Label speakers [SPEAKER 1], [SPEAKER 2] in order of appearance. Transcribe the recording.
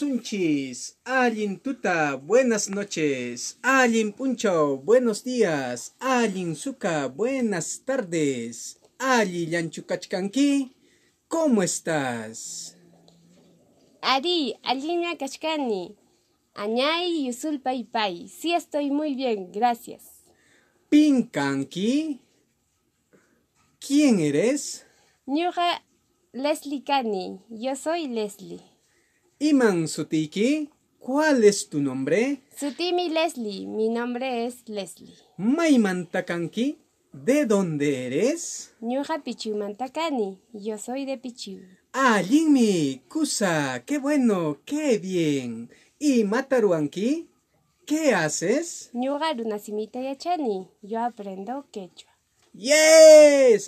[SPEAKER 1] Anacusunchis, Alin Tuta, buenas noches. Alin Puncho, buenos días. Alin Zuka, buenas tardes. Ali Yanchucachcanqui, ¿cómo estás?
[SPEAKER 2] Ari, Alina Kashkani, Añay Yusul Pai Pai. Sí, estoy muy bien, gracias.
[SPEAKER 1] Pincanqui, ¿quién eres?
[SPEAKER 2] Nyura Leslie Kani, yo soy Leslie.
[SPEAKER 1] Iman Sutiki, ¿cuál es tu nombre?
[SPEAKER 2] Sutimi Leslie, mi nombre es Leslie.
[SPEAKER 1] Maimantakanki, ¿de dónde eres?
[SPEAKER 2] Nyura Pichu Mantakani, yo soy de Pichu.
[SPEAKER 1] Ah, Jinmi, Kusa, qué bueno, qué bien. ¿Y Mataruanki? ¿Qué haces?
[SPEAKER 2] Nyura Runasimita Yachani, yo aprendo quechua.
[SPEAKER 1] ¡Yes!